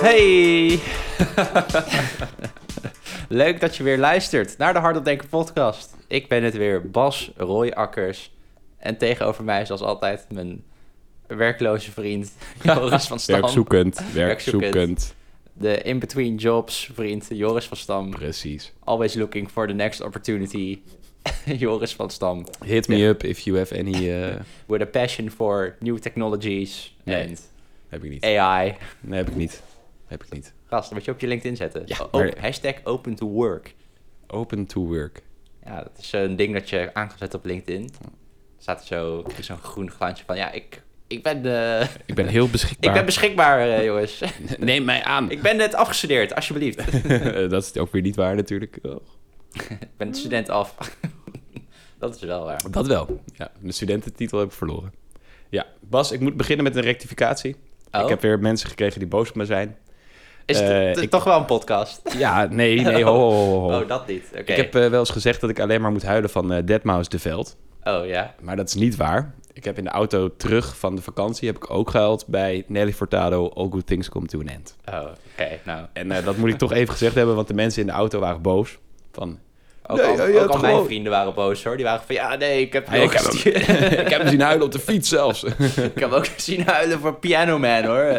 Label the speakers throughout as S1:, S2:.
S1: Hey! Leuk dat je weer luistert naar de Hardop Denken podcast. Ik ben het weer, Bas Rooiakkers. En tegenover mij, zoals altijd, mijn werkloze vriend Joris van Stam.
S2: Werkzoekend,
S1: Werkzoekend.
S2: werkzoekend.
S1: De in-between jobs vriend Joris van Stam.
S2: Precies.
S1: Always looking for the next opportunity. Joris van Stam.
S2: Hit me up if you have any... eh,
S1: With a passion for new technologies
S2: Nee.
S1: and
S2: heb ik niet.
S1: AI.
S2: Nee, heb ik niet. Heb ik niet.
S1: Gast, dat moet je op je LinkedIn zetten.
S2: Ja,
S1: O-
S2: maar-
S1: Hashtag open to work.
S2: Open to work.
S1: Ja, dat is eh, een ding dat je aan kan zetten op LinkedIn. Staat er zo, krijg je zo'n groen glansje van, ja, ik, ik ben de...
S2: Ik ben heel
S1: Ik
S2: beschikbaar.
S1: ben beschikbaar, eh, jongens.
S2: Neem mij aan.
S1: ik ben net afgestudeerd, alsjeblieft.
S2: dat is ook weer niet waar natuurlijk. Oh.
S1: ik ben student af. dat is wel waar.
S2: Dat wel. Ja, de studententitel heb ik verloren. Ja, Bas, ik moet beginnen met een rectificatie.
S1: Oh.
S2: Ik heb weer mensen gekregen die boos op me zijn.
S1: Is het
S2: Eh,
S1: t-
S2: ik-
S1: toch wel een podcast?
S2: Ja, nee, nee, ho, ho, ho, ho.
S1: Oh, dat niet. Oké.
S2: Ik heb eh, wel eens gezegd dat ik alleen maar moet huilen van eh Deadmau5 de Veld.
S1: Oh, ja.
S2: Maar dat is niet waar. Ik heb in de auto terug van de vakantie heb ik ook gehuild bij Nelly Fortado, All Good Things Come to an End.
S1: Oh, oké. Nou,
S2: En eh, dat moet ik toch even gezegd hebben, want de mensen in de auto waren boos. Van,
S1: ook
S2: Nee,
S1: al,
S2: ja, je
S1: ook
S2: hebt
S1: al mijn
S2: gewoon-
S1: vrienden waren boos, hoor. Die waren van, ja, nee, ik heb hem
S2: Hey,
S1: ook
S2: ik, heb hem,
S1: gestudeerd.
S2: ik heb hem zien huilen op de fiets zelfs.
S1: Ik heb hem ook zien huilen voor Piano Man, hoor.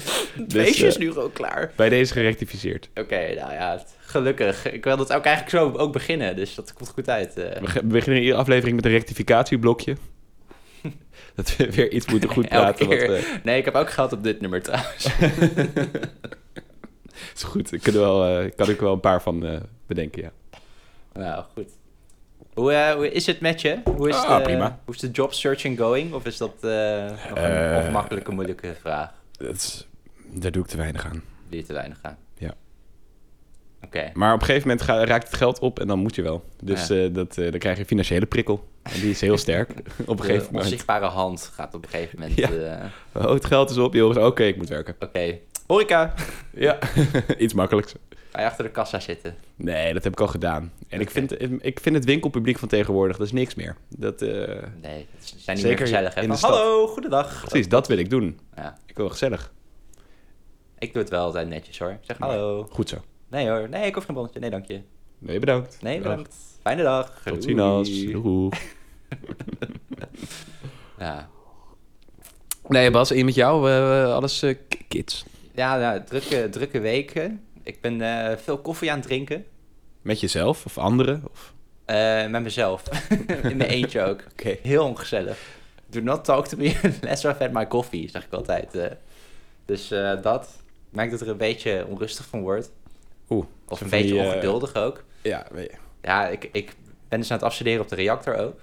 S1: Het
S2: Dus,
S1: feestje is
S2: eh,
S1: nu gewoon klaar.
S2: bij deze gerectificeerd.
S1: Oké, nou ja, het- gelukkig. Ik wil dat ook eigenlijk zo ook beginnen, dus dat komt goed uit. eh.
S2: We ge- we beginnen iedere aflevering met een rectificatieblokje. dat we weer iets moeten goed
S1: Elke
S2: praten.
S1: keer.
S2: want, eh,
S1: Nee, ik heb ook gehad op dit nummer trouwens.
S2: is goed, ik kan, wel, eh, kan ik wel een paar van eh, bedenken, ja.
S1: nou, goed. Hoe, eh, hoe is het met je? Hoe is,
S2: Ah,
S1: de,
S2: prima.
S1: hoe is de job searching going? Of is dat eh, nog een
S2: Eh.
S1: of makkelijke, moeilijke vraag?
S2: Dat is- daar doe ik te weinig aan.
S1: Wil je te weinig gaan?
S2: Ja.
S1: Oké.
S2: Maar op een gegeven moment ga- raakt het geld op en dan moet je wel. Dus
S1: Ja.
S2: eh, dat, eh, dan krijg je een financiële prikkel. En die is heel sterk op een gegeven
S1: De
S2: moment.
S1: onzichtbare hand gaat op een gegeven moment...
S2: Ja.
S1: eh,
S2: Oh, het geld is op, jongens. Oké, ik moet werken.
S1: Oké, horeca!
S2: Ja, iets makkelijks.
S1: Ga je achter de kassa zitten?
S2: Nee, dat heb ik al gedaan. En ik, vind, ik vind het winkelpubliek van tegenwoordig, dat is niks meer. Dat, eh,
S1: Nee, ze zijn niet
S2: Zeker
S1: meer gezellig. hè?
S2: in
S1: Van,
S2: de stad.
S1: Hallo, goedendag!
S2: precies, dat wil ik doen.
S1: Ja.
S2: Ik wil gezellig.
S1: Ik doe het wel altijd netjes hoor. Ik zeg hallo.
S2: Goed zo.
S1: Nee hoor. Nee, ik hoef geen bonnetje. Nee, dank je.
S2: Nee, bedankt.
S1: Nee,
S2: Dag.
S1: bedankt. Fijne dag.
S2: Tot
S1: Doei.
S2: ziens. Doeg.
S1: Ja,
S2: Nee, Bas, in met jou. eh, alles eh, k- kids.
S1: ja nou, drukke, drukke weken. Ik ben eh, veel koffie aan het drinken.
S2: Met jezelf of anderen? Of...
S1: Eh, met mezelf. In mijn eentje ook.
S2: Oké.
S1: Heel ongezellig. Do not talk to me unless I've had my coffee, zeg ik altijd. eh. dus eh, dat maakt dat er een beetje onrustig van wordt.
S2: Oeh.
S1: Of
S2: Zo
S1: een
S2: van
S1: beetje
S2: die, eh,
S1: ongeduldig ook.
S2: Ja, weet je.
S1: Ja, ik, ik ben dus aan het afstuderen op de reactor ook.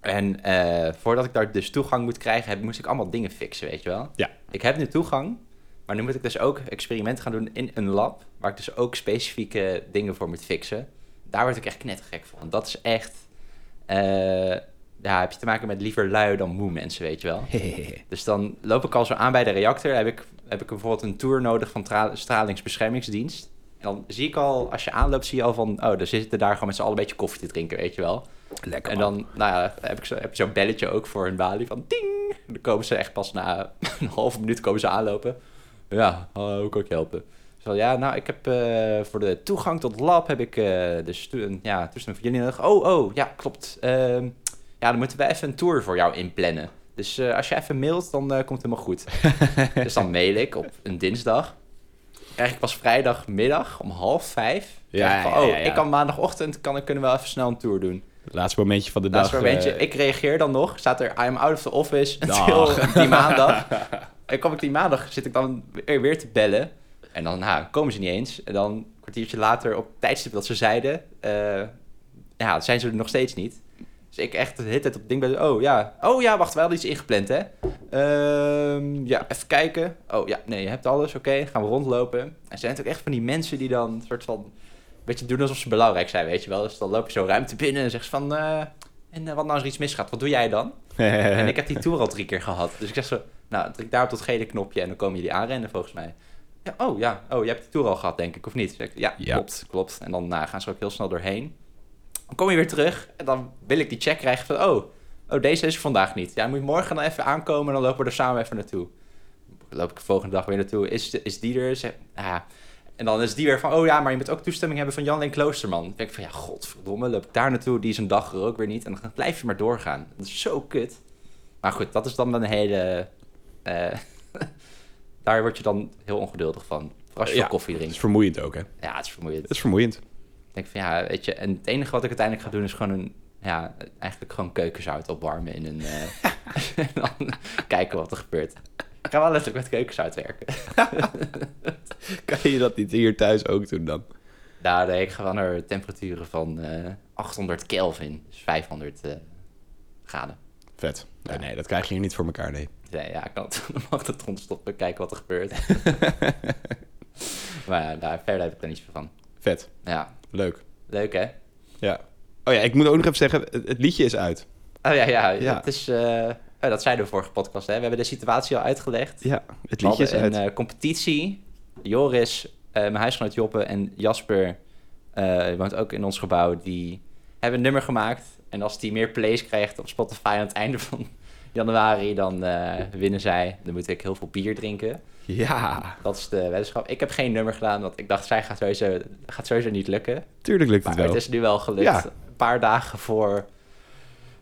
S1: En eh, voordat ik daar dus toegang moet krijgen, heb, moest ik allemaal dingen fixen, weet je wel.
S2: Ja.
S1: Ik heb nu toegang, maar nu moet ik dus ook experimenten gaan doen in een lab... waar ik dus ook specifieke dingen voor moet fixen. Daar word ik echt knettergek van. Dat is echt... eh, ja, heb je te maken met liever lui dan moe mensen, weet je wel. Dus dan loop ik al zo aan bij de reactor. Heb ik, heb ik bijvoorbeeld een tour nodig van tra- stralingsbeschermingsdienst. En dan zie ik al, als je aanloopt, zie je al van... Oh, dan zitten daar gewoon met z'n allen een beetje koffie te drinken, weet je wel.
S2: Lekker,
S1: En dan, nou ja, heb, ik zo, heb je zo'n belletje ook voor een balie van ding. En dan komen ze echt pas na een halve minuut komen ze aanlopen. Ja, hallo, hoe kan ik je helpen? Dus van, ja, nou, ik heb eh, voor de toegang tot lab heb ik eh dus tu- een- ja, toestemming van jullie nodig. Oh, oh, ja, klopt. Ehm, ja, dan moeten we even een tour voor jou inplannen. Dus eh, als je even mailt, dan eh, komt het helemaal goed. dus dan mail ik op een dinsdag. Krijg ik pas vrijdagmiddag om half vijf.
S2: Ja,
S1: Krijg ik van,
S2: ja,
S1: oh,
S2: ja, ja.
S1: ik kan maandagochtend, kan, kunnen we wel even snel een tour doen.
S2: Laatste momentje van de dag.
S1: Laatste momentje.
S2: eh,
S1: ik reageer dan nog. Staat er, I'm out of the office
S2: Dag.
S1: until die maandag. En kom ik die maandag, zit ik dan weer, weer te bellen. En dan nou, komen ze niet eens. En dan een kwartiertje later, op het tijdstip dat ze zeiden... eh, ja, zijn ze er nog steeds niet. Dus ik echt de hele tijd op het ding ben... Oh ja, oh, ja wacht, we hadden iets ingepland, hè? Ehm, ja, even kijken. Oh ja, nee, je hebt alles, oké. Gaan we rondlopen. En er zijn natuurlijk echt van die mensen die dan een soort van... Een beetje doen alsof ze belangrijk zijn, weet je wel. Dus dan loop je zo ruimte binnen en zeg ze van... eh, en eh, wat nou als er iets misgaat, wat doe jij dan?
S2: eh.
S1: En ik heb die tour al drie keer gehad. Dus ik zeg zo, nou, druk daar op dat gele knopje en dan komen jullie aanrennen volgens mij. Ja, oh ja, oh, je hebt die tour al gehad denk ik, of niet? Zeg ik, ja,
S2: Ja.
S1: klopt, klopt. En dan nou, gaan ze er ook heel snel doorheen. Dan kom je weer terug en dan wil ik die check krijgen van, oh, oh deze is er vandaag niet. Ja, dan moet je morgen dan even aankomen en dan lopen we er samen even naartoe. loop ik de volgende dag weer naartoe. Is, is die er? Zeg, ah. En dan is die weer van, oh ja, maar je moet ook toestemming hebben van Jan en Kloosterman. Dan denk ik van, ja, godverdomme, loop ik daar naartoe. Die is een dag er ook weer niet. En dan blijf je maar doorgaan. Dat is zo kut. Maar goed, dat is dan een hele... eh, daar word je dan heel ongeduldig van. Als je
S2: Ja.
S1: veel koffie
S2: Het is
S1: drinkt.
S2: vermoeiend ook, hè? Het
S1: Ja, het is vermoeiend.
S2: is vermoeiend.
S1: Ik denk van ja, weet je, en het enige wat ik uiteindelijk ga doen is gewoon een, ja, eigenlijk gewoon keukenzout opwarmen in een, eh, en dan kijken wat er gebeurt. Ik ga wel letterlijk met keukenzout werken.
S2: Kan je dat niet hier thuis ook doen dan?
S1: Nou nee, ik ga wel naar temperaturen van eh, 800 Kelvin, dus 500 eh, graden.
S2: Vet. Nee,
S1: Ja.
S2: nee, dat krijg je hier niet voor elkaar, nee.
S1: Nee, ja, ik kan het dan mag het ontstoppen, kijken wat er gebeurt. maar ja, daar, verder heb ik er niets meer van.
S2: Vet.
S1: Ja,
S2: Leuk.
S1: leuk hè?
S2: Ja. Oh ja, ik moet ook nog even zeggen, het, het liedje is uit.
S1: Oh ja, ja,
S2: Ja.
S1: Het is, eh, oh, dat zeiden we vorige podcast hè, we hebben de situatie al uitgelegd.
S2: Ja, het
S1: We
S2: liedje is
S1: hadden
S2: uit.
S1: een eh, competitie. Joris, eh, mijn huisgenoot Joppe en Jasper, eh, die woont ook in ons gebouw, die hebben een nummer gemaakt. En als die meer plays krijgt op Spotify aan het einde van januari, dan eh, winnen zij. Dan moet ik heel veel bier drinken.
S2: eh, Ja,
S1: Dat is de weddenschap. Ik heb geen nummer gedaan, want ik dacht, zij gaat sowieso, gaat sowieso niet lukken.
S2: tuurlijk lukt het
S1: Maar het
S2: wel.
S1: is nu wel gelukt.
S2: Ja.
S1: Een paar dagen voor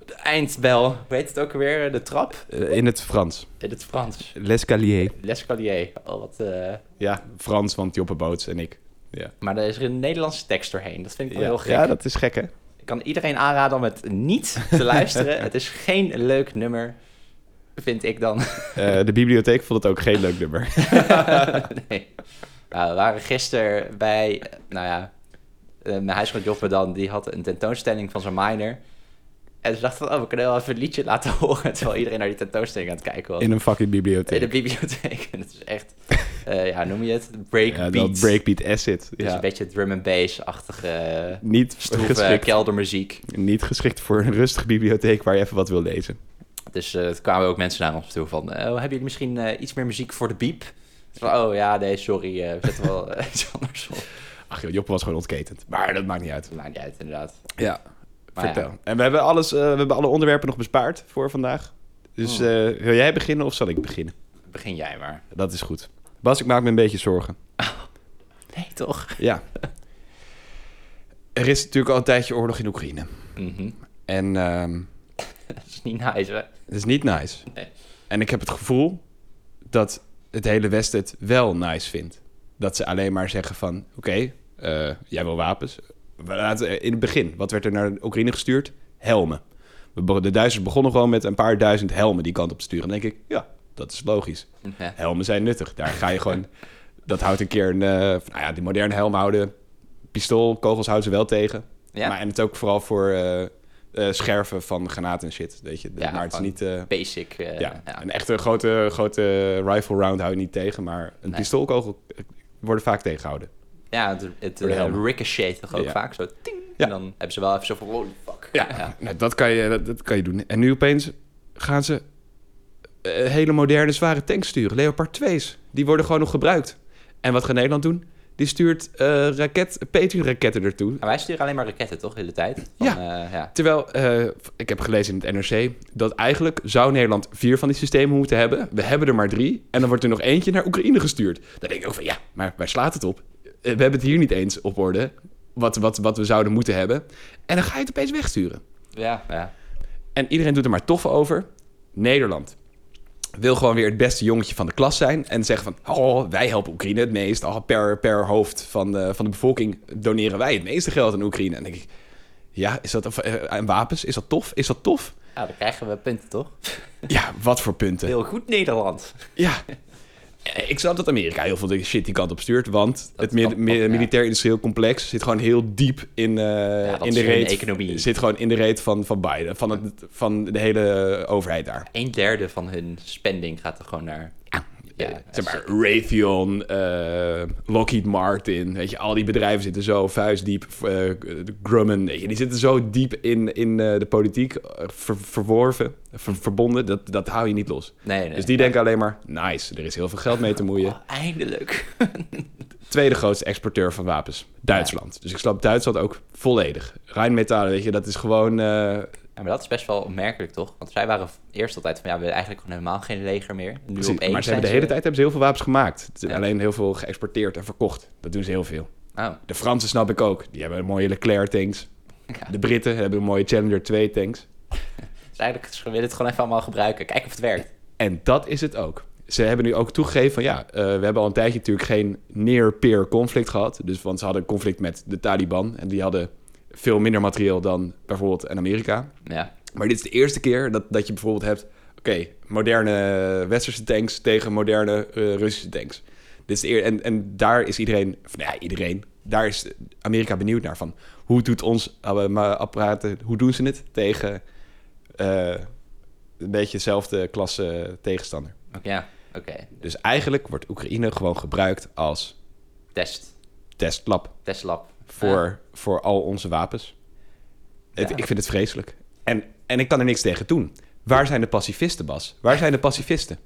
S1: de eindbel. Hoe heet het ook weer? De trap?
S2: Eh, In het Frans.
S1: In het Frans.
S2: L'escalier.
S1: L'escalier. Oh, wat... eh,
S2: Ja, Frans, want Joppe Boots en ik. Ja,
S1: Maar er is er een Nederlandse tekst doorheen. Dat vind ik wel
S2: ja.
S1: heel gek.
S2: ja dat is gek, hè?
S1: Ik kan iedereen aanraden om het niet te luisteren. het is geen leuk nummer, vind ik dan.
S2: Eh, de bibliotheek vond het ook geen leuk nummer.
S1: nee. Nou, we waren gisteren bij, eh, nou ja, eh, mijn huisgenoot Joppe dan, die had een tentoonstelling van zijn minor. En ze dachten van, oh, we kunnen wel even een liedje laten horen, terwijl iedereen naar die tentoonstelling aan het kijken was.
S2: In een fucking
S1: In de
S2: bibliotheek.
S1: bibliotheek. En het is echt, eh, ja, noem je het? Breakbeat.
S2: Ja, dat breakbeat acid.
S1: Dus een
S2: Ja.
S1: beetje drum and bass-achtige
S2: Niet
S1: stroeve
S2: geschikt,
S1: keldermuziek.
S2: niet geschikt voor een rustige bibliotheek waar je even wat wil lezen.
S1: Dus eh, het kwamen ook mensen naar ons toe van... eh, hebben jullie misschien eh, iets meer muziek voor de biep? Dus van, oh ja, nee, sorry, eh, we zetten wel eh, iets anders op.
S2: Ach joh, Joppe was gewoon ontketend. Maar dat maakt niet uit.
S1: Maakt niet uit, inderdaad.
S2: Ja,
S1: Maar ja.
S2: vertel. En we hebben, alles, eh, we hebben alle onderwerpen nog bespaard voor vandaag. Dus eh, wil jij beginnen of zal ik beginnen?
S1: Begin jij maar.
S2: Dat is goed. Bas, ik maak me een beetje zorgen.
S1: Nee, toch?
S2: Ja. Er is natuurlijk al een tijdje oorlog in Oekraïne.
S1: Mhm.
S2: En ehm,
S1: Dat is niet nice, hè?
S2: het is niet nice.
S1: Nee.
S2: En ik heb het gevoel dat het hele Westen het wel nice vindt. Dat ze alleen maar zeggen van... Oké, eh, jij wil wapens. We laten, eh, in het begin, wat werd er naar Oekraïne gestuurd? Helmen. We be- De Duitsers begonnen gewoon met een paar duizend helmen die kant op te sturen. Dan denk ik, ja, dat is logisch.
S1: Ja.
S2: Helmen zijn nuttig. Daar ga je gewoon... dat houdt een keer een... eh, nou ja, die moderne helm houden... Pistool, kogels houden ze wel tegen.
S1: Ja?
S2: Maar, en het ook vooral voor eh, eh, scherven van granaten en shit. Weet je.
S1: Ja,
S2: maar het is
S1: gewoon-
S2: niet... eh,
S1: Basic. eh,
S2: ja,
S1: ja.
S2: een echte grote, grote rifle round hou je niet tegen, maar een
S1: Nee.
S2: pistoolkogel eh, worden vaak tegengehouden.
S1: Ja, het, het
S2: Voor de
S1: eh,
S2: helmen.
S1: ricochet toch ook
S2: Ja.
S1: vaak? Zo, ting.
S2: Ja.
S1: En dan hebben ze wel even zo van, holy fuck.
S2: Nou, dat, kan je, dat, dat kan je doen. En nu opeens gaan ze eh, hele moderne, zware tanks sturen. Leopard 2's. Die worden gewoon nog gebruikt. En wat gaat Nederland doen? Die stuurt eh raket, Patriot-raketten ertoe.
S1: Maar wij sturen alleen maar raketten, toch? De hele tijd.
S2: Ja.
S1: eh, ja.
S2: Terwijl, eh, ik heb gelezen in het NRC dat eigenlijk zou Nederland vier van die systemen moeten hebben. We hebben er maar drie. En dan wordt er nog eentje naar Oekraïne gestuurd. Dan denk ik ook van ja, maar waar slaat het op? Eh, We hebben het hier niet eens op orde. Wat, wat, wat we zouden moeten hebben. En dan ga je het opeens wegsturen.
S1: Ja, ja.
S2: En iedereen doet er maar tof over. Nederland wil gewoon weer het beste jongetje van de klas zijn. En zeggen van, oh, wij helpen Oekraïne het meest. Oh, per, per hoofd van de, van de bevolking doneren wij het meeste geld aan Oekraïne. En dan denk ik, ja, is dat, eh, aan wapens, is dat tof? Is dat tof?
S1: Ja, dan krijgen we punten, toch?
S2: Ja, wat voor punten.
S1: Heel goed Nederland.
S2: Ja. Eh, Ik snap dat Amerika heel veel shit die kant op stuurt, want het mi-
S1: kan ook,
S2: mi-
S1: ja.
S2: militair-industrieel complex zit gewoon heel diep in, eh,
S1: dat
S2: in
S1: is
S2: de
S1: hun
S2: reet.
S1: economie.
S2: Zit gewoon in de reet van, van Biden, van, het, van de hele overheid daar.
S1: Een derde van hun spending gaat er gewoon naar.
S2: Eh, zeg maar, Raytheon, eh, Lockheed Martin, weet je, al die bedrijven zitten zo vuistdiep. eh, de Grumman, weet je, die zitten zo diep in, in eh, de politiek eh, ver- verworven, ver- verbonden, dat, dat hou je niet los.
S1: Nee, nee.
S2: Dus die denken alleen maar, nice, er is heel veel geld mee te moeien.
S1: Oh, eindelijk.
S2: Tweede grootste exporteur van wapens, Duitsland. Dus ik snap Duitsland ook volledig. Rijnmetalen, weet je, dat is gewoon... eh,
S1: maar dat is best wel opmerkelijk, toch? Want zij waren eerst altijd van, ja, we hebben eigenlijk gewoon helemaal geen leger meer. Nu
S2: Precies,
S1: opeens
S2: maar ze
S1: zijn
S2: hebben de hele tijd hebben ze heel veel wapens gemaakt. Het is
S1: Ja.
S2: Alleen heel veel geëxporteerd en verkocht. Dat doen ze heel veel.
S1: Oh,
S2: De Fransen snap ik ook. Die hebben een mooie Leclerc tanks.
S1: ja.
S2: De Britten hebben een mooie Challenger 2 tanks.
S1: Dus eigenlijk ze willen het gewoon even allemaal gebruiken. Kijken of het werkt.
S2: En dat is het ook. Ze hebben nu ook toegegeven van ja, eh, we hebben al een tijdje natuurlijk geen near-peer conflict gehad. Dus want ze hadden een conflict met de Taliban. En die hadden veel minder materieel dan bijvoorbeeld in Amerika.
S1: Ja,
S2: Maar dit is de eerste keer dat, dat je bijvoorbeeld hebt... oké, moderne westerse tanks tegen moderne eh, Russische tanks. Dit is de eer- en, en daar is iedereen... Of, nou ja, iedereen. Daar is Amerika benieuwd naar van... hoe doet ons eh, maar apparaten... hoe doen ze het tegen... eh, een beetje dezelfde klasse tegenstander.
S1: oké. Ja. oké.
S2: Dus eigenlijk wordt Oekraïne gewoon gebruikt als
S1: Test.
S2: testlab
S1: Testlab.
S2: voor, voor al onze wapens. Het-
S1: Ja.
S2: Ik vind het vreselijk. En, en ik kan er niks tegen doen. Waar zijn de pacifisten, Bas? Waar zijn de pacifisten?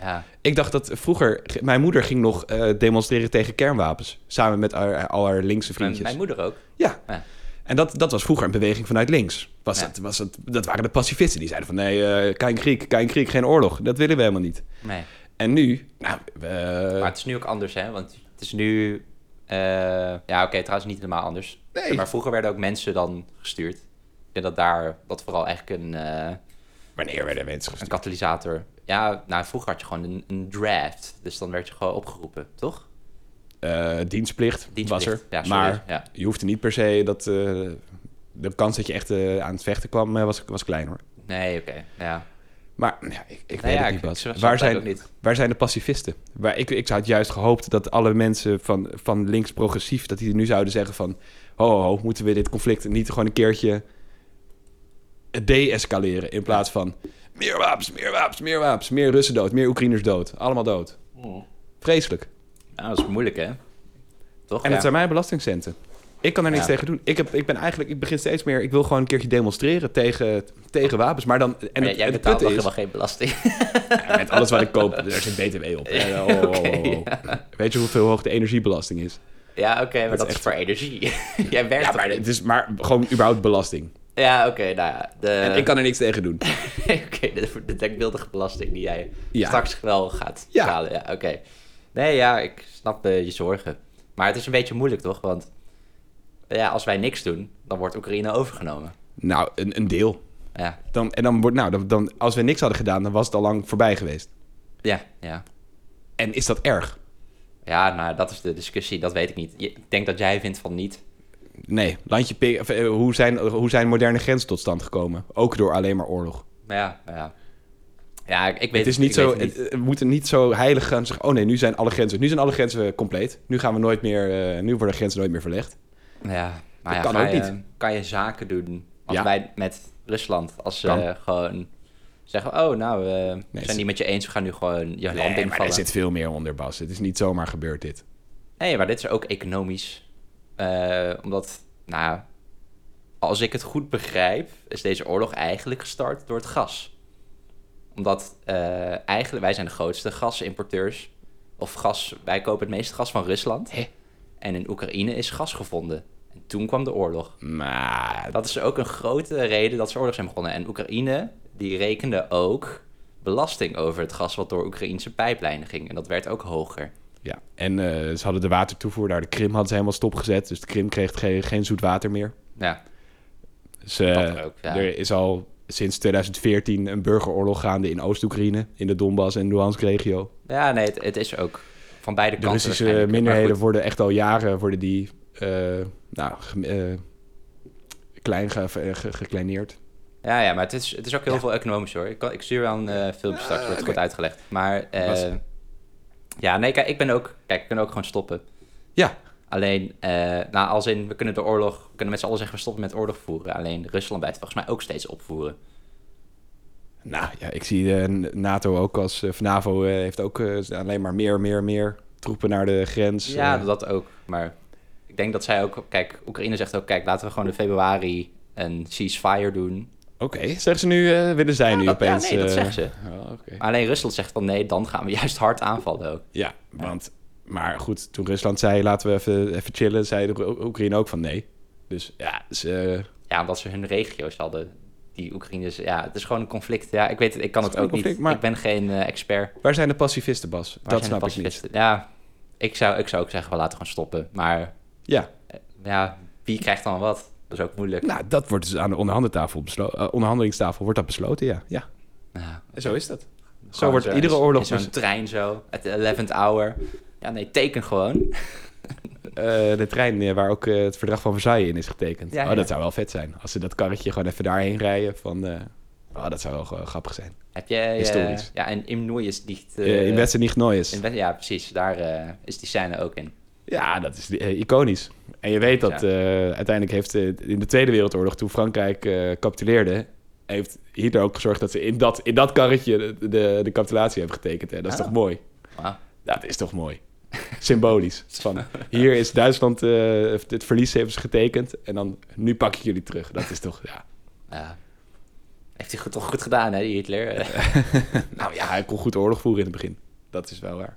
S1: Ja,
S2: Ik dacht dat vroeger... Mijn moeder ging nog eh, demonstreren tegen kernwapens. Samen met haar- al haar linkse
S1: mijn,
S2: vriendjes.
S1: mijn moeder ook.
S2: Ja.
S1: Ja.
S2: En dat, dat was vroeger een beweging vanuit links. Was
S1: Ja.
S2: dat, was dat, dat waren de pacifisten. Die zeiden van nee, eh geen Griek, geen Griek, geen oorlog. Dat willen we helemaal niet.
S1: Nee.
S2: En nu... Nou, we-
S1: Maar het is nu ook anders, hè? Want het is nu... eh, ja, oké, trouwens niet helemaal anders.
S2: Nee.
S1: Maar vroeger werden ook mensen dan gestuurd. Ik denk dat daar, dat vooral eigenlijk een, eh,
S2: Wanneer werden mensen
S1: een
S2: gestuurd?
S1: katalysator... Ja, nou, vroeger had je gewoon een, een draft. Dus dan werd je gewoon opgeroepen, toch?
S2: Eh, dienstplicht,
S1: Dienstplicht.
S2: was er.
S1: Ja, sorry.
S2: maar
S1: Ja.
S2: je hoefde niet per se dat... eh, de kans dat je echt eh, aan het vechten kwam eh, was, was klein hoor.
S1: Nee, oké. Ja.
S2: Maar ja, ik,
S1: Nou
S2: ik weet
S1: ja,
S2: het
S1: ik-
S2: niet,
S1: ik
S2: Bas.
S1: snap
S2: Waar
S1: het
S2: zijn,
S1: ook niet.
S2: waar zijn de pacifisten? Waar, ik, ik zou het juist gehoopt dat alle mensen van, van links progressief... dat die nu zouden zeggen van... Ho, ho, ho, moeten we dit conflict niet gewoon een keertje de-escaleren... in plaats van meer wapens, meer wapens, meer wapens... meer Russen dood, meer Oekraïners dood. Allemaal dood.
S1: Oh.
S2: Vreselijk.
S1: Nou, dat is moeilijk, hè? Toch? ja.
S2: En het ehm, zijn mijn belastingcenten. Ik kan er niks
S1: Ja.
S2: tegen doen. Ik, heb, ik ben eigenlijk, ik begin steeds meer. Ik wil gewoon een keertje demonstreren tegen, tegen wapens. Maar dan. En
S1: Maar
S2: het,
S1: jij
S2: en het
S1: betaalt nog
S2: putte is,
S1: helemaal geen belasting.
S2: ja, met alles wat ik koop, daar zit BTW op. Eh, oh, oh, oh, oh. Weet je hoeveel hoog de energiebelasting is?
S1: ja, oké, maar
S2: Dat
S1: dat, is
S2: is echt-
S1: voor energie. jij werkt
S2: Ja,
S1: toch
S2: maar
S1: niet?
S2: het is maar gewoon überhaupt belasting.
S1: Ja, oké, nou ja. De...
S2: En ik kan er niks tegen doen.
S1: Oké, de, de denkbeeldige belasting die jij
S2: Ja.
S1: straks wel gaat
S2: Ja.
S1: betalen. Ja, oké. Nee, ja, ik snap eh, je zorgen. Maar het is een beetje moeilijk, toch? Want ja, als wij niks doen, dan wordt Oekraïne overgenomen.
S2: Nou, een, een deel.
S1: Ja,
S2: Dan, en dan wordt, nou, dan, dan, als we niks hadden gedaan, dan was het al lang voorbij geweest.
S1: ja, ja.
S2: En is dat erg?
S1: Ja, nou, dat is de discussie. Dat weet ik niet. Je- Ik denk dat jij vindt van niet.
S2: Nee, landje pik- of, eh, hoe, zijn, hoe zijn moderne grenzen tot stand gekomen? Ook door alleen maar oorlog.
S1: Maar ja, maar ja. Ja, ik, ik weet
S2: Het is
S1: ik
S2: niet
S1: weet
S2: zo,
S1: het niet.
S2: het- we moeten niet zo heilig gaan zeggen, oh nee, nu zijn alle grenzen, nu zijn alle grenzen compleet. Nu gaan we nooit meer, eh, nu worden grenzen nooit meer verlegd.
S1: Ja, maar ja,
S2: kan
S1: ga
S2: ook
S1: je,
S2: niet.
S1: Kan je zaken doen als
S2: Ja.
S1: wij met Rusland, als ze
S2: Kan.
S1: gewoon zeggen, oh nou, we zijn
S2: ze-
S1: niet met je eens, we gaan nu gewoon je land
S2: Nee, maar
S1: invallen.
S2: er zit veel meer onder, Bas. Het is niet zomaar gebeurd dit.
S1: Nee, maar dit is ook economisch. Eh, omdat, nou, ja, als ik het goed begrijp, is deze oorlog eigenlijk gestart door het gas. Omdat eh, eigenlijk, wij zijn de grootste gasimporteurs. Of gas, wij kopen het meeste gas van Rusland.
S2: Hè?
S1: En in Oekraïne is gas gevonden. En toen kwam de oorlog.
S2: Maar
S1: Dat is ook een grote reden dat ze oorlog zijn begonnen. En Oekraïne, die rekende ook belasting over het gas wat door Oekraïnse pijplijnen ging. En dat werd ook hoger.
S2: ja, en eh, ze hadden de watertoevoer naar de Krim hadden ze helemaal stopgezet. Dus de Krim kreeg geen, geen zoet water meer.
S1: Nou Ja,
S2: Dus eh,
S1: Dat ook, ja.
S2: er is al sinds 2014 een burgeroorlog gaande in Oost-Oekraïne, in de Donbass en Luhansk-regio.
S1: ja nee, het, het is ook van beide
S2: De
S1: kanten.
S2: Russische
S1: waarschijnlijk. Maar
S2: minderheden
S1: goed,
S2: worden echt al jaren worden die, eh, nou, gem- eh, klein ge- ge- ge- gekleineerd.
S1: Ja, ja, maar het is, het is ook heel veel economisch hoor. Ik, kan, ik stuur wel een eh, filmpje straks, wordt het
S2: Ah, oké.
S1: kort uitgelegd. Maar eh,
S2: Was-
S1: ja, nee, kijk, ik ben ook, kijk, we kunnen ook gewoon stoppen.
S2: Ja,
S1: Alleen, eh, nou, als in, we kunnen de oorlog, we kunnen met z'n allen zeggen, we stoppen met oorlog voeren. Alleen Rusland blijft volgens mij ook steeds opvoeren.
S2: nou ja, ik zie de NATO ook als, eh, of NAVO eh, heeft ook eh, alleen maar meer, meer, meer troepen naar de grens.
S1: Ja,
S2: eh.
S1: dat ook. Maar ik denk dat zij ook... Kijk, Oekraïne zegt ook... Kijk, laten we gewoon in februari een ceasefire doen.
S2: Oké, zeggen ze nu, eh, willen zij nu
S1: dat- ja,
S2: opeens...
S1: nee, dat
S2: eh,
S1: zeggen ze.
S2: oh, oké.
S1: Maar alleen Rusland zegt van... Nee, dan gaan we juist hard aanvallen ook.
S2: Ja, want, maar goed, toen Rusland zei, laten we even, even chillen, zei de Oekraïne ook van nee. Dus ja, ze...
S1: Ja, omdat ze hun regio's hadden... die Oekraïners. Ja, het is gewoon een conflict. Ja, ik weet het, ik kan
S2: Het
S1: het,
S2: is
S1: ook
S2: gewoon een
S1: niet.
S2: conflict, maar-
S1: Ik ben geen eh, expert.
S2: Waar zijn de pacifisten, Bas?
S1: Waar
S2: dat
S1: zijn de
S2: snap ik niet.
S1: pacifisten? Ja, ik zou, ik zou ook zeggen, we laten gewoon stoppen. Maar
S2: Ja,
S1: eh, ja, wie krijgt dan wat? Dat is ook moeilijk.
S2: nou, dat wordt dus aan de onderhandeltafel beslo- eh, onderhandelingstafel wordt dat besloten, ja. ja.
S1: Ja.
S2: En zo is dat. Zo
S1: Gewoon
S2: wordt
S1: zo
S2: iedere
S1: in-
S2: oorlog... dus-
S1: in Zo'n
S2: bes-
S1: trein zo, at the 11th hour. Ja, nee, teken gewoon.
S2: eh, de trein eh, waar ook eh, het verdrag van Versailles in is getekend.
S1: Ja,
S2: oh,
S1: ja.
S2: dat zou wel vet zijn. Als ze dat karretje gewoon even daarheen rijden van... eh, oh, dat zou wel eh, grappig zijn.
S1: Heb je... eh,
S2: Historisch.
S1: ja, en Im Noy is niet... eh,
S2: Eh, in Westen niet nooit is.
S1: in West- Ja, precies. Daar eh, is die scène ook in.
S2: Ja, dat is eh, iconisch. En je weet dat
S1: Ja.
S2: eh, uiteindelijk heeft eh, in de Tweede Wereldoorlog, toen Frankrijk eh capituleerde, heeft Hitler ook gezorgd dat ze in dat, in dat karretje de, de, de capitulatie hebben getekend. En dat is
S1: Ah.
S2: toch mooi?
S1: Wauw.
S2: Dat is toch mooi? Symbolisch. Van, hier is Duitsland, eh, het verlies hebben ze getekend en dan nu pak ik jullie terug. Dat is toch, ja.
S1: Ja. Heeft hij goed, toch goed gedaan, hè, die Hitler? Eh,
S2: Nou ja, hij kon goed oorlog voeren in het begin. Dat is wel waar.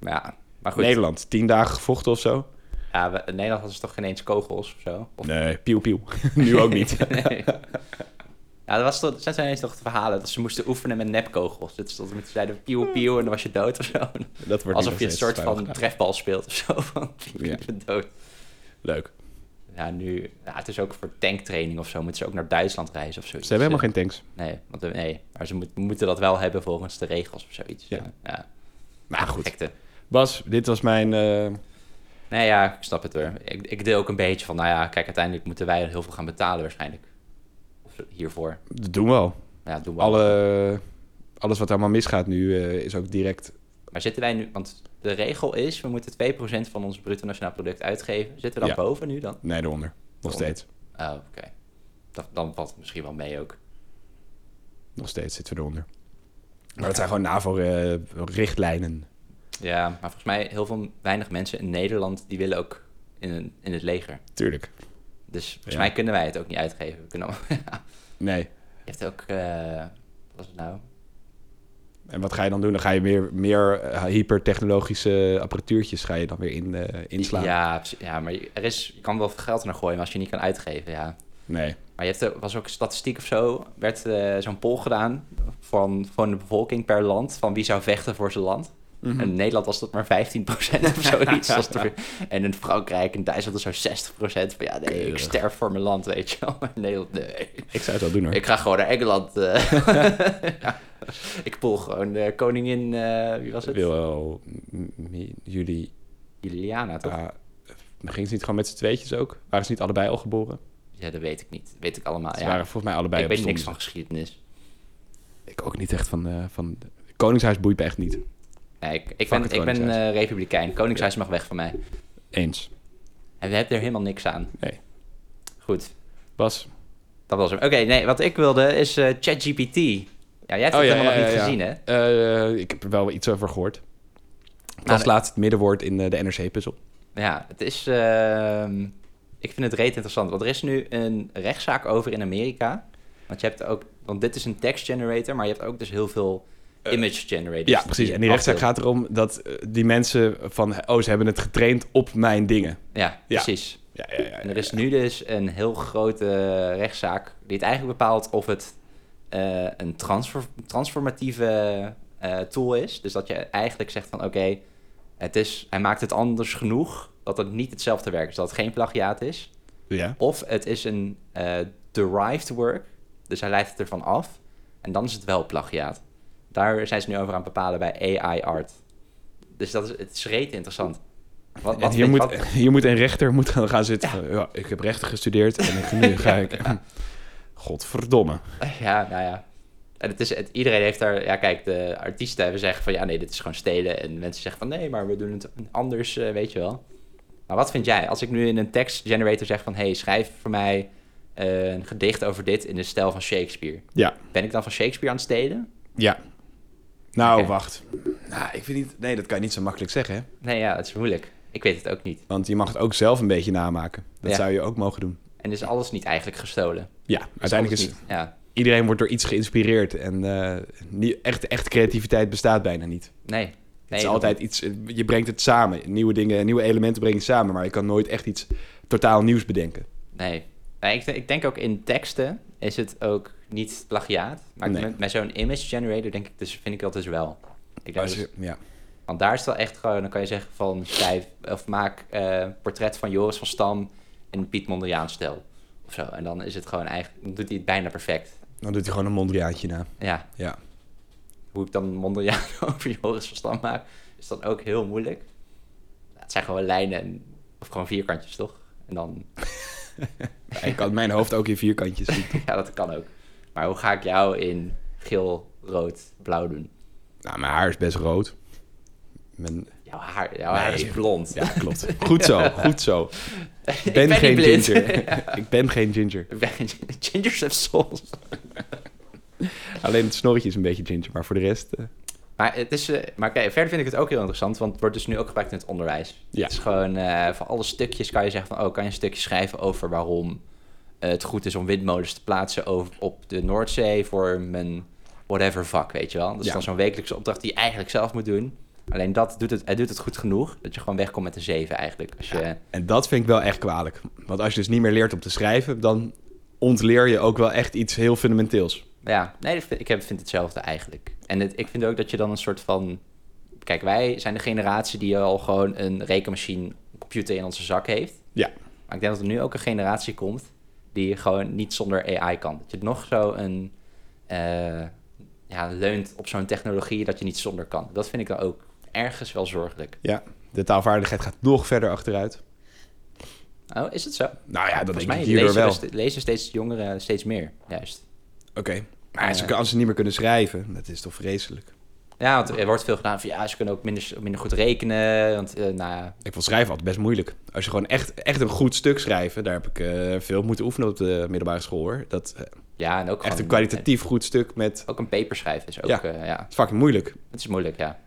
S1: ja, maar goed.
S2: Nederland, tien dagen gevochten of zo?
S1: Ja, we, in Nederland hadden ze toch geen eens kogels of zo? Of...
S2: Nee, pieuw pieuw. nu ook niet.
S1: Nee. Ja, dat was toch, dat zijn eens toch de verhalen dat ze moesten oefenen met nepkogels. Dat ze tot met zeiden pieuw pieuw en dan was je dood of zo.
S2: Dat wordt
S1: Alsof
S2: nog
S1: je een
S2: steeds
S1: soort
S2: vrijwel
S1: van
S2: gedaan.
S1: trefbal speelt of zo. Van, je
S2: Ja.
S1: bent dood.
S2: Leuk.
S1: Ja, nu, ja, het is ook voor tanktraining of zo. Moeten ze ook naar Duitsland reizen of zoiets.
S2: Ze hebben helemaal geen tanks.
S1: geen... Nee, want, eh, nee. maar ze moet- moeten dat wel hebben volgens de regels of zoiets.
S2: Ja.
S1: ja.
S2: Maar goed.
S1: Gekte.
S2: Bas, dit was mijn... eh,
S1: Nee, ja, ik snap het hoor. Ik, ik deel ook een beetje van, nou ja, kijk, uiteindelijk moeten wij heel veel gaan betalen waarschijnlijk. Of zo, hiervoor.
S2: dat doen we al.
S1: Ja, dat doen we al.
S2: Alle, alles wat allemaal misgaat nu eh, is ook direct...
S1: Maar zitten wij nu, want de regel is, we moeten 2% van ons bruto nationaal product uitgeven. Zitten we dan
S2: Ja.
S1: boven nu dan?
S2: Nee, eronder. Nog
S1: Eronder.
S2: steeds.
S1: Oh, oké. Dat- Dan valt het misschien wel mee ook.
S2: Nog steeds zitten we eronder. Maar dat zijn gewoon eh, NAVO-richtlijnen.
S1: Ja, maar volgens mij heel veel, weinig mensen in Nederland, die willen ook in, een- in het leger.
S2: Tuurlijk.
S1: Dus volgens
S2: Ja.
S1: mij kunnen wij het ook niet uitgeven. We kunnen al-
S2: Nee.
S1: Je hebt ook, eh, wat was het nou?
S2: En wat ga je dan doen? Dan ga je meer, meer eh, hypertechnologische apparatuurtjes ga je dan weer in, eh, inslaan.
S1: Ja, precies. ja, maar je- er is, je kan wel veel geld er naar gooien, maar als je niet kan uitgeven, ja.
S2: Nee.
S1: Maar je hebt, er was ook statistiek of zo, werd eh, zo'n poll gedaan van, van de bevolking per land, van wie zou vechten voor zijn land.
S2: Mhm.
S1: En in Nederland was dat maar 15% of zoiets. Dat is toch- en in Frankrijk en Duitsland was zo'n 60% van ja, nee, ik
S2: Keurig.
S1: sterf voor mijn land, weet je wel. Maar in Nederland, nee.
S2: Ik zou het wel doen hoor.
S1: Ik ga gewoon naar Engeland. eh. Ja. Ik pool gewoon eh, koningin, eh, wie was het?
S2: wil wel m- m- jullie...
S1: Juliana, toch?
S2: ah, gingen ze niet gewoon met z'n tweetjes ook? Waren ze niet allebei al geboren?
S1: Ja, dat weet ik niet. Dat weet ik allemaal,
S2: Ze
S1: Ah, ja.
S2: waren volgens mij allebei
S1: ik
S2: op
S1: weet niks
S2: zondag.
S1: van geschiedenis.
S2: Ik ook niet echt van... eh, van... Koningshuis boeit me echt niet.
S1: Nee, ik, ik
S2: Fuck
S1: ben,
S2: het
S1: ik ben
S2: Koningshuis.
S1: eh, republikein. Koningshuis mag weg van mij.
S2: Eens.
S1: En we hebben er helemaal niks aan.
S2: Nee.
S1: Goed,
S2: Bas?
S1: dat was hem. Oké, nee, wat ik wilde is eh, ChatGPT. Ja, jij hebt
S2: Oh,
S1: het helemaal nog niet gezien, hè?
S2: Eh, ik heb er wel iets over gehoord. Het was
S1: nee.
S2: laatst het middenwoord in eh, de NRC-puzzel.
S1: Ja, het is... ehm, ik vind het reet interessant, want er is nu een rechtszaak over in Amerika. Want je hebt ook... Want dit is een text generator, maar je hebt ook dus heel veel image generators.
S2: Eh, Ja, precies. En die rechtszaak gaat erom dat eh, die mensen van... Oh, ze hebben het getraind op mijn dingen.
S1: Ja,
S2: Ja.
S1: precies.
S2: Ja, ja, ja.
S1: En er is nu dus een heel grote rechtszaak die het eigenlijk bepaalt of het eh, een transfer- transformatieve eh, tool is. Dus dat je eigenlijk zegt van oké, het is, hij maakt het anders genoeg dat het niet hetzelfde werk is, dat het geen plagiaat is.
S2: Ja.
S1: Of het is een eh, derived work, dus hij leidt het ervan af en dan is het wel plagiaat. Daar zijn ze nu over aan het bepalen bij AI art. Dus dat is, het is reet interessant. Wat,
S2: En
S1: wat,
S2: hier,
S1: wat-
S2: moet, hier moet een rechter moet gaan gaan zitten. van, Ja. ik heb rechten gestudeerd en ik, nu ga ik... Godverdomme.
S1: Ja, nou ja. En het is, het, iedereen heeft daar... Ja, kijk, de artiesten hebben zeggen van... Ja, nee, dit is gewoon stelen. En mensen zeggen van... Nee, maar we doen het anders, eh, weet je wel. Maar wat vind jij? Als ik nu in een tekst generator zeg van... hey, schrijf voor mij eh, een gedicht over dit in de stijl van Shakespeare.
S2: Ja.
S1: Ben ik dan van Shakespeare aan het stelen?
S2: Ja. Nou,
S1: Oké.
S2: wacht. Nou, ik vind niet... Nee, dat kan je niet zo makkelijk zeggen, hè?
S1: Nee, ja, het is moeilijk. Ik weet het ook niet.
S2: Want je mag het ook zelf een beetje namaken. Dat
S1: Ja.
S2: zou je ook mogen doen.
S1: En is alles niet eigenlijk gestolen? Is
S2: Ja, uiteindelijk is
S1: alles niet- Ja.
S2: iedereen wordt door iets geïnspireerd. En eh, niet, echt, echt creativiteit bestaat bijna niet.
S1: Nee. nee
S2: het is
S1: dat-
S2: altijd iets, je brengt het samen. Nieuwe dingen, nieuwe elementen breng je samen. Maar je kan nooit echt iets totaal nieuws bedenken.
S1: Nee. nee ik, ik denk ook in teksten. is het ook niet plagiaat. Maar
S2: Nee.
S1: met, met zo'n image generator denk ik dus, vind ik dat dus wel. Ik denk
S2: Als
S1: dus-
S2: je- ja.
S1: want daar is het wel echt gewoon, dan kan je zeggen van schrijf of maak eh, portret van Joris van Stam in Piet Mondriaan stijl. Of zo. En dan is het gewoon eigenlijk, dan doet hij het bijna perfect.
S2: Dan doet hij gewoon een mondriaantje na.
S1: Ja,
S2: Ja.
S1: hoe ik dan Mondriaan over Joris van Stam maak, is dan ook heel moeilijk. Het zijn gewoon lijnen en, of gewoon vierkantjes, toch? En dan,
S2: Ik had mijn hoofd ook in vierkantjes zien.
S1: ja, dat kan ook. Maar hoe ga ik jou in geel, rood, blauw doen?
S2: Nou, mijn haar is best rood. Mijn...
S1: Jouw haar, jouw haar
S2: Nee.
S1: is blond.
S2: Ja, klopt. Goed zo, goed zo.
S1: Ik
S2: Ik ben,
S1: niet
S2: geen
S1: blind.
S2: ginger. Ik ben geen ginger.
S1: Ik ben geen gingers of souls.
S2: Alleen het snorretje is een beetje ginger, maar voor de rest... eh,
S1: Maar, het is, eh, maar oké, verder vind ik het ook heel interessant, want het wordt dus nu ook gebruikt in het onderwijs.
S2: Ja.
S1: Het is gewoon, eh voor alle stukjes kan je zeggen van, oh, kan je een stukje schrijven over waarom eh, het goed is om windmolens te plaatsen over, op de Noordzee voor mijn whatever vak, weet je wel. Dat is
S2: Ja.
S1: dan zo'n wekelijkse opdracht die je eigenlijk zelf moet doen. Alleen dat doet het, hij doet het goed genoeg, dat je gewoon wegkomt met een 7 eigenlijk. Als je, ja.
S2: En dat vind ik wel echt kwalijk. Want als je dus niet meer leert om te schrijven, dan ontleer je ook wel echt iets heel fundamenteels.
S1: nee, dat vind- ik heb- vind hetzelfde eigenlijk. En het, ik vind ook dat je dan een soort van... Kijk, wij zijn de generatie die al gewoon een rekenmachine, een computer in onze zak heeft.
S2: Ja.
S1: Maar ik denk dat er nu ook een generatie komt die gewoon niet zonder AI kan. Dat je nog zo een eh, ja, leunt op zo'n technologie dat je niet zonder kan. Dat vind ik dan ook ergens wel zorgelijk.
S2: Ja, de taalvaardigheid gaat nog verder achteruit.
S1: Oh, is het zo?
S2: Nou ja, dat
S1: Volgens
S2: denk
S1: mij
S2: ik hierdoor
S1: lezen,
S2: wel.
S1: we st- lezen steeds jongeren steeds meer, juist.
S2: Oké. Maar ze,
S1: Ja.
S2: als ze niet meer kunnen schrijven, dat is toch vreselijk.
S1: Ja, want er wordt veel gedaan van ja, ze kunnen ook minder, minder goed rekenen. Want eh, nou, ja,
S2: Ik vond schrijven altijd best moeilijk. Als je gewoon echt, echt een goed stuk schrijven, daar heb ik eh, veel moeten oefenen op de middelbare school hoor. Dat, eh,
S1: ja, en ook
S2: echt een
S1: gewoon-
S2: kwalitatief goed stuk met.
S1: eh, Ook een paper schrijven is ook,
S2: Ja.
S1: ja. ja.
S2: Het is fucking moeilijk.
S1: Het is moeilijk, ja.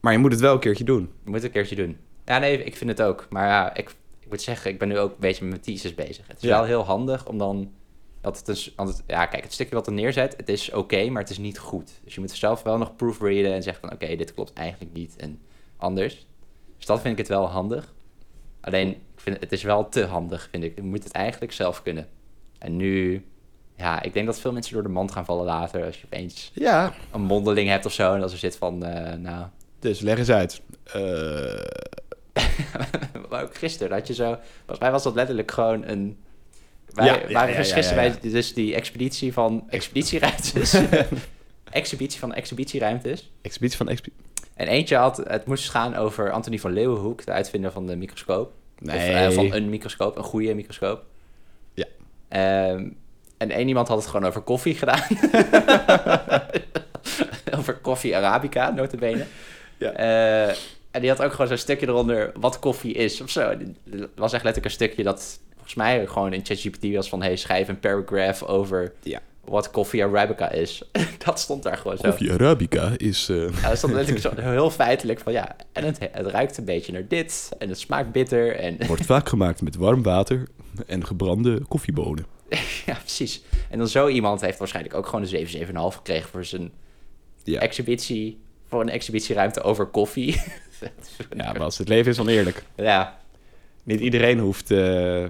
S2: Maar je moet het wel een keertje doen.
S1: Je moet het een keertje doen. Ja, nee, ik vind het ook. Maar ja, ik, ik moet zeggen, ik ben nu ook een beetje met mijn thesis bezig. Het is
S2: Ja.
S1: wel heel handig om dan... Dat het dus, want het- ja, kijk, het stukje wat er neerzet, het is oké, maar het is niet goed. Dus je moet zelf wel nog proofreaden en zeggen van... Oké, dit klopt eigenlijk niet en anders. Dus dat vind ik het wel handig. Alleen, ik vind, het is wel te handig, vind ik. Je moet het eigenlijk zelf kunnen. En nu... Ja, ik denk dat veel mensen door de mand gaan vallen later... als je opeens
S2: Ja,
S1: een mondeling hebt of zo... en als er zit van, eh, nou...
S2: dus leg eens uit. Eh,
S1: maar ook gisteren had je zo. Volgens mij was dat letterlijk gewoon een. Wij
S2: Ja,
S1: waren
S2: ja, ja,
S1: dus
S2: ja,
S1: gisteren
S2: ja, ja.
S1: bij dus die expeditie van expeditieruimtes. exhibitie van exhibitieruimtes.
S2: exhibitie van exhibitie.
S1: En eentje had, het moest gaan over Anthony van Leeuwenhoek, de uitvinder van de microscoop. Of
S2: Nee,
S1: eh, van een microscoop, een goede microscoop.
S2: Ja.
S1: Ehm, en één iemand had het gewoon over koffie gedaan. over koffie Arabica, notabene.
S2: Ja.
S1: Eh, en die had ook gewoon zo'n stukje eronder wat koffie is of zo. En Het was echt letterlijk een stukje dat volgens mij gewoon in ChatGPT was van... hey, schrijf een paragraph over
S2: Ja.
S1: wat koffie Arabica is. dat stond daar gewoon zo.
S2: Koffie Arabica is. eh,
S1: Ja, dat stond letterlijk zo heel feitelijk van ja... en het, het ruikt een beetje naar dit en het smaakt bitter en...
S2: wordt vaak gemaakt met warm water en gebrande koffiebonen.
S1: Ja, precies. En dan zo iemand heeft waarschijnlijk ook gewoon een 7,7,5 gekregen voor zijn
S2: Ja.
S1: exhibitie. Voor een exhibitieruimte over koffie.
S2: Ja, Bas, het leven is oneerlijk.
S1: ja,
S2: Niet iedereen hoeft eh,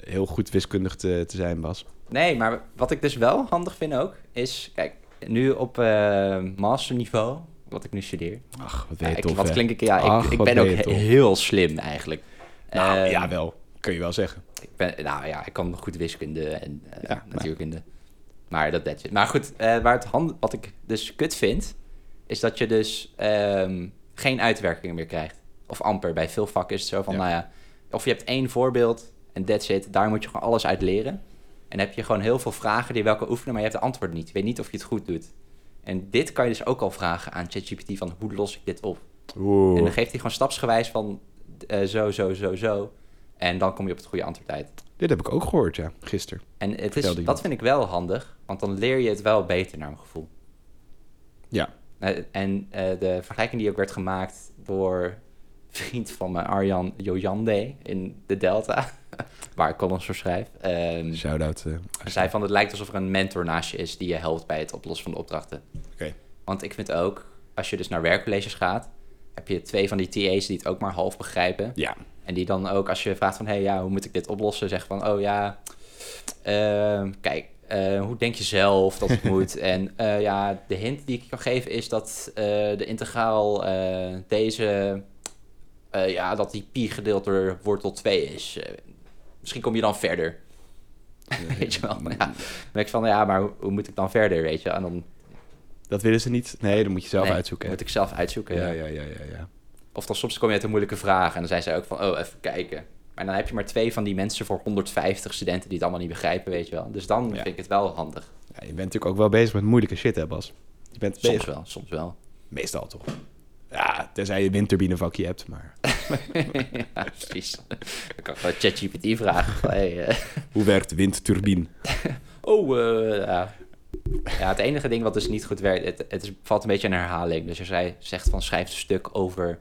S2: heel goed wiskundig te, te zijn, Bas.
S1: nee, maar wat ik dus wel handig vind ook is. Kijk, nu op eh, masterniveau, wat ik nu studeer.
S2: Ach, wat
S1: Ja,
S2: weet je
S1: ik,
S2: tof,
S1: wat
S2: hè?
S1: klink ik? Ja, ik,
S2: Ach,
S1: ik
S2: wat
S1: ben
S2: ben
S1: ook
S2: je
S1: he-
S2: tof.
S1: heel slim eigenlijk.
S2: Nou,
S1: Eh,
S2: ja, wel. Kun je wel zeggen.
S1: Ik ben, nou ja, ik kan goed wiskunde en eh,
S2: Ja, maar-
S1: natuurkunde. Maar dat that's it. Maar goed, eh, waar het hand, wat ik dus kut vind, is dat je dus ehm, geen uitwerking meer krijgt. Of amper. Bij veel vakken is het zo van,
S2: Ja.
S1: nou ja, of je hebt één voorbeeld en that's it. Daar moet je gewoon alles uit leren. En heb je gewoon heel veel vragen die je wel kan oefenen, maar je hebt de antwoorden niet. Je weet niet of je het goed doet. En dit kan je dus ook al vragen aan ChatGPT van hoe los ik dit op? En dan
S2: Oeh.
S1: geeft hij gewoon stapsgewijs van eh, zo, zo, zo, zo. En dan kom je op het goede antwoord uit.
S2: Dit heb ik ook gehoord, ja, gisteren.
S1: En het is,
S2: Vertelde
S1: dat
S2: iemand.
S1: vind ik wel handig, want dan leer je het wel beter naar mijn gevoel.
S2: Ja.
S1: Eh, En eh, de vergelijking die ook werd gemaakt door een vriend van me, Arjan Jojande in de Delta, waar ik columns voor schrijf. ehm,
S2: Shout-out. eh,
S1: zei van, het lijkt alsof er een mentor naast je is die je helpt bij het oplossen van de opdrachten.
S2: Oké.
S1: Want ik vind ook, als je dus naar werkcolleges gaat, heb je twee van die TA's die het ook maar half begrijpen.
S2: Ja.
S1: En die dan ook, als je vraagt van, hé, hey, ja, hoe moet ik dit oplossen? Zeggen van, oh ja, ehm, kijk, eh, hoe denk je zelf dat het moet? En eh, ja, de hint die ik je kan geven is dat eh, de integraal eh, deze, eh, ja, dat die pi gedeeld door wortel 2 is. Eh, misschien kom je dan verder. weet je wel? Ja. Dan ben ik van, ja, maar hoe, hoe moet ik dan verder, weet je? En dan
S2: Dat willen ze niet. Nee, dat moet je zelf
S1: nee,
S2: uitzoeken.
S1: moet ik zelf uitzoeken.
S2: Ja,
S1: ja.
S2: ja, ja, ja, ja.
S1: Of dan soms kom je uit een moeilijke vraag en dan zijn ze ook van, oh, even kijken. Maar dan heb je maar twee van die mensen voor 150 studenten die het allemaal niet begrijpen, weet je wel. Dus dan
S2: Ja.
S1: vind ik het wel handig.
S2: Ja, je bent natuurlijk ook wel bezig met moeilijke shit, hè, Bas? Je bent
S1: Soms
S2: bezig-
S1: wel, soms wel.
S2: Meestal toch? Ja, tenzij je een windturbinevakje hebt, maar...
S1: ja, precies. Dan kan ik gewoon ChatGPT vragen. van, hey, eh,
S2: Hoe werkt windturbine?
S1: oh, eh, ja. ja, het enige ding wat dus niet goed werkt, het, het is, valt een beetje een herhaling. Dus als jij zegt van schrijf een stuk over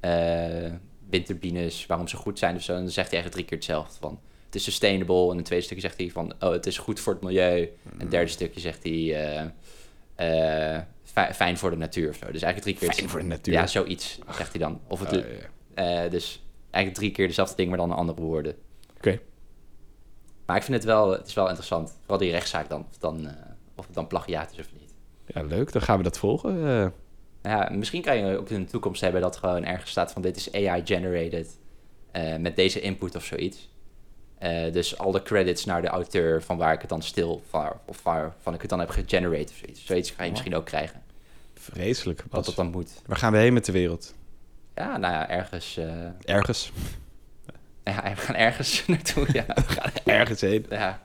S1: eh, windturbines, waarom ze goed zijn of zo, dan zegt hij eigenlijk drie keer hetzelfde. Van, het is sustainable. En het tweede stukje zegt hij van, oh, het is goed voor het milieu. En het derde stukje zegt hij, eh, eh, fi- fijn voor de natuur of zo. Dus eigenlijk drie keer
S2: Fijn voor de natuur.
S1: Ja, zoiets zegt hij dan. Of het,
S2: Ah, ja.
S1: eh, dus eigenlijk drie keer dezelfde ding, maar dan in andere woorden.
S2: Oké.
S1: Maar ik vind het wel, het is wel interessant. Vooral die rechtszaak dan. Of, dan, eh, of het dan plagiaat is of niet.
S2: Ja, leuk. Dan gaan we dat volgen. eh.
S1: Nou ja, misschien kan je ook in de toekomst hebben dat gewoon ergens staat van dit is AI-generated eh, met deze input of zoiets. Eh, dus al de credits naar de auteur van waar ik het dan stil van, of waarvan ik het dan heb gegenerate of zoiets. Zoiets
S2: Oh.
S1: ga je misschien ook krijgen.
S2: Vreselijk,
S1: Wat
S2: Bas.
S1: dat dan moet.
S2: Waar gaan we heen met de wereld?
S1: Ja, nou ja, ergens. eh,
S2: Ergens.
S1: ja, we gaan ergens naartoe. Ja.
S2: Ergens heen.
S1: ja.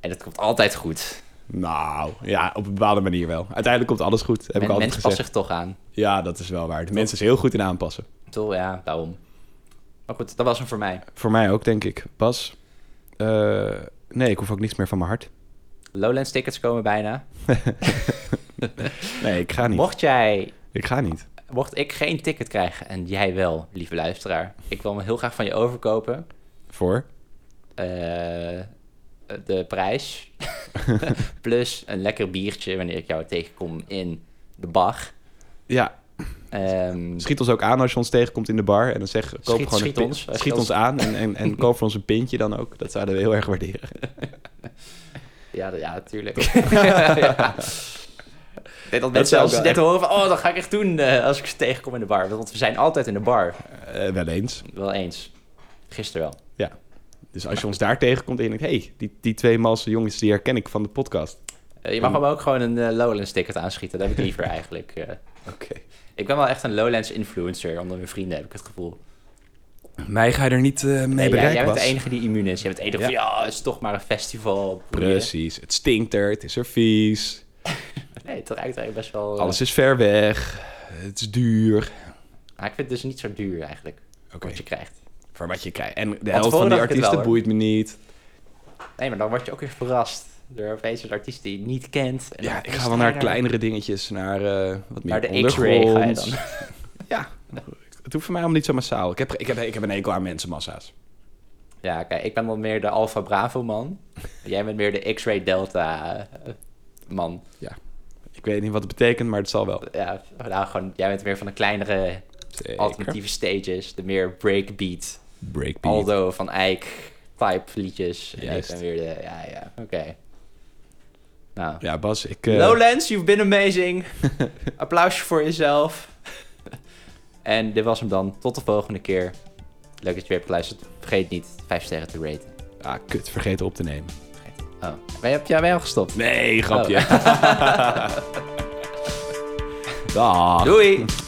S1: En dat komt altijd goed.
S2: Nou, ja, op een bepaalde manier wel. Uiteindelijk komt alles goed, heb ik
S1: Men-
S2: altijd
S1: mensen
S2: gezegd.
S1: passen zich toch aan.
S2: Ja, dat is wel waar. De mensen zijn heel goed in aanpassen.
S1: Toch, ja, daarom. Maar goed, dat was hem voor mij.
S2: Voor mij ook, denk ik. Bas, eh, nee, ik hoef ook niks meer van mijn hart.
S1: Lowlands tickets komen bijna.
S2: Nee, ik ga niet.
S1: Mocht jij,
S2: Ik ga niet.
S1: mocht ik geen ticket krijgen en jij wel, lieve luisteraar. Ik wil me heel graag van je overkopen.
S2: Voor?
S1: Eh, de prijs. Plus een lekker biertje wanneer ik jou tegenkom in de bar.
S2: Ja,
S1: Ehm,
S2: schiet ons ook aan als je ons tegenkomt in de bar. En dan zeg, koop
S1: Schiet-
S2: gewoon
S1: schiet
S2: een pin-
S1: ons, als je
S2: schiet
S1: ons-
S2: ons aan en, en, en koop voor ons een pintje dan ook. Dat zouden we heel erg waarderen.
S1: ja, d- ja, natuurlijk. ja. Ik denk dat mensen
S2: zou
S1: als ze
S2: ik
S1: dit
S2: wel
S1: horen van... Oh, dat ga ik echt doen eh, als ik ze tegenkom in de bar. Want we zijn altijd in de bar.
S2: Eh, wel eens.
S1: Wel eens. Gisteren wel.
S2: Dus als je ons daar tegenkomt en je denkt... hey, die, die twee malse jongens, die herken ik van de podcast.
S1: Eh, je mag hem ook gewoon een eh, Lowlands ticket aanschieten. Dat heb ik liever eigenlijk. eh.
S2: Oké.
S1: ik ben wel echt een Lowlands influencer onder mijn vrienden, heb ik het gevoel.
S2: Mij ga je er niet eh, mee
S1: Nee, jij,
S2: bereiken,
S1: jij bent
S2: Bas.
S1: de enige die immuun is. Je bent de enige van, ja, het is toch maar een festival. boeien."
S2: Precies. Het stinkt er, het is er vies.
S1: Nee, het ruikt eigenlijk best wel... eh,
S2: Alles is ver weg. Het is duur.
S1: Maar ik vind het dus niet zo duur eigenlijk,
S2: Oké,
S1: wat je krijgt.
S2: voor wat je krijgt. En de
S1: tevoren
S2: helft van die
S1: dacht ik het wel,
S2: artiesten
S1: hoor.
S2: boeit me niet.
S1: Nee, maar dan word je ook weer verrast door opeens een artiest die je niet kent. En
S2: Ja,
S1: dan
S2: ik
S1: is
S2: ga wel
S1: hij
S2: naar
S1: daar.
S2: kleinere dingetjes. Naar eh, wat meer
S1: Naar de X-ray
S2: ondergrond.
S1: ga je dan.
S2: Ja, het hoeft voor mij allemaal niet zo massaal. Ik heb, ik heb, ik heb een enkel aan mensenmassa's.
S1: Ja, kijk, ik ben dan meer de Alpha Bravo man. Jij bent meer de X-ray Delta eh, man.
S2: Ik weet niet wat het betekent, maar het zal wel.
S1: Ja, nou, gewoon, jij bent meer van de kleinere
S2: Zeker.
S1: alternatieve stages, de meer breakbeat,
S2: Breakbeat.
S1: Aldo van Eyck type liedjes. En ik
S2: Juist.
S1: ben weer de, ja, ja, oké. Nou.
S2: Ja, Bas, ik... eh,
S1: Lowlands, you've been amazing. Applausje voor jezelf. en dit was hem dan. Tot de volgende keer. Leuk dat je weer hebt geluisterd. Vergeet niet 5 sterren te raten.
S2: Ah, kut. Vergeten op te nemen. Oh.
S1: Oh, ben je, heb jij mij al gestopt?
S2: Nee, grapje. Dag.
S1: Doei!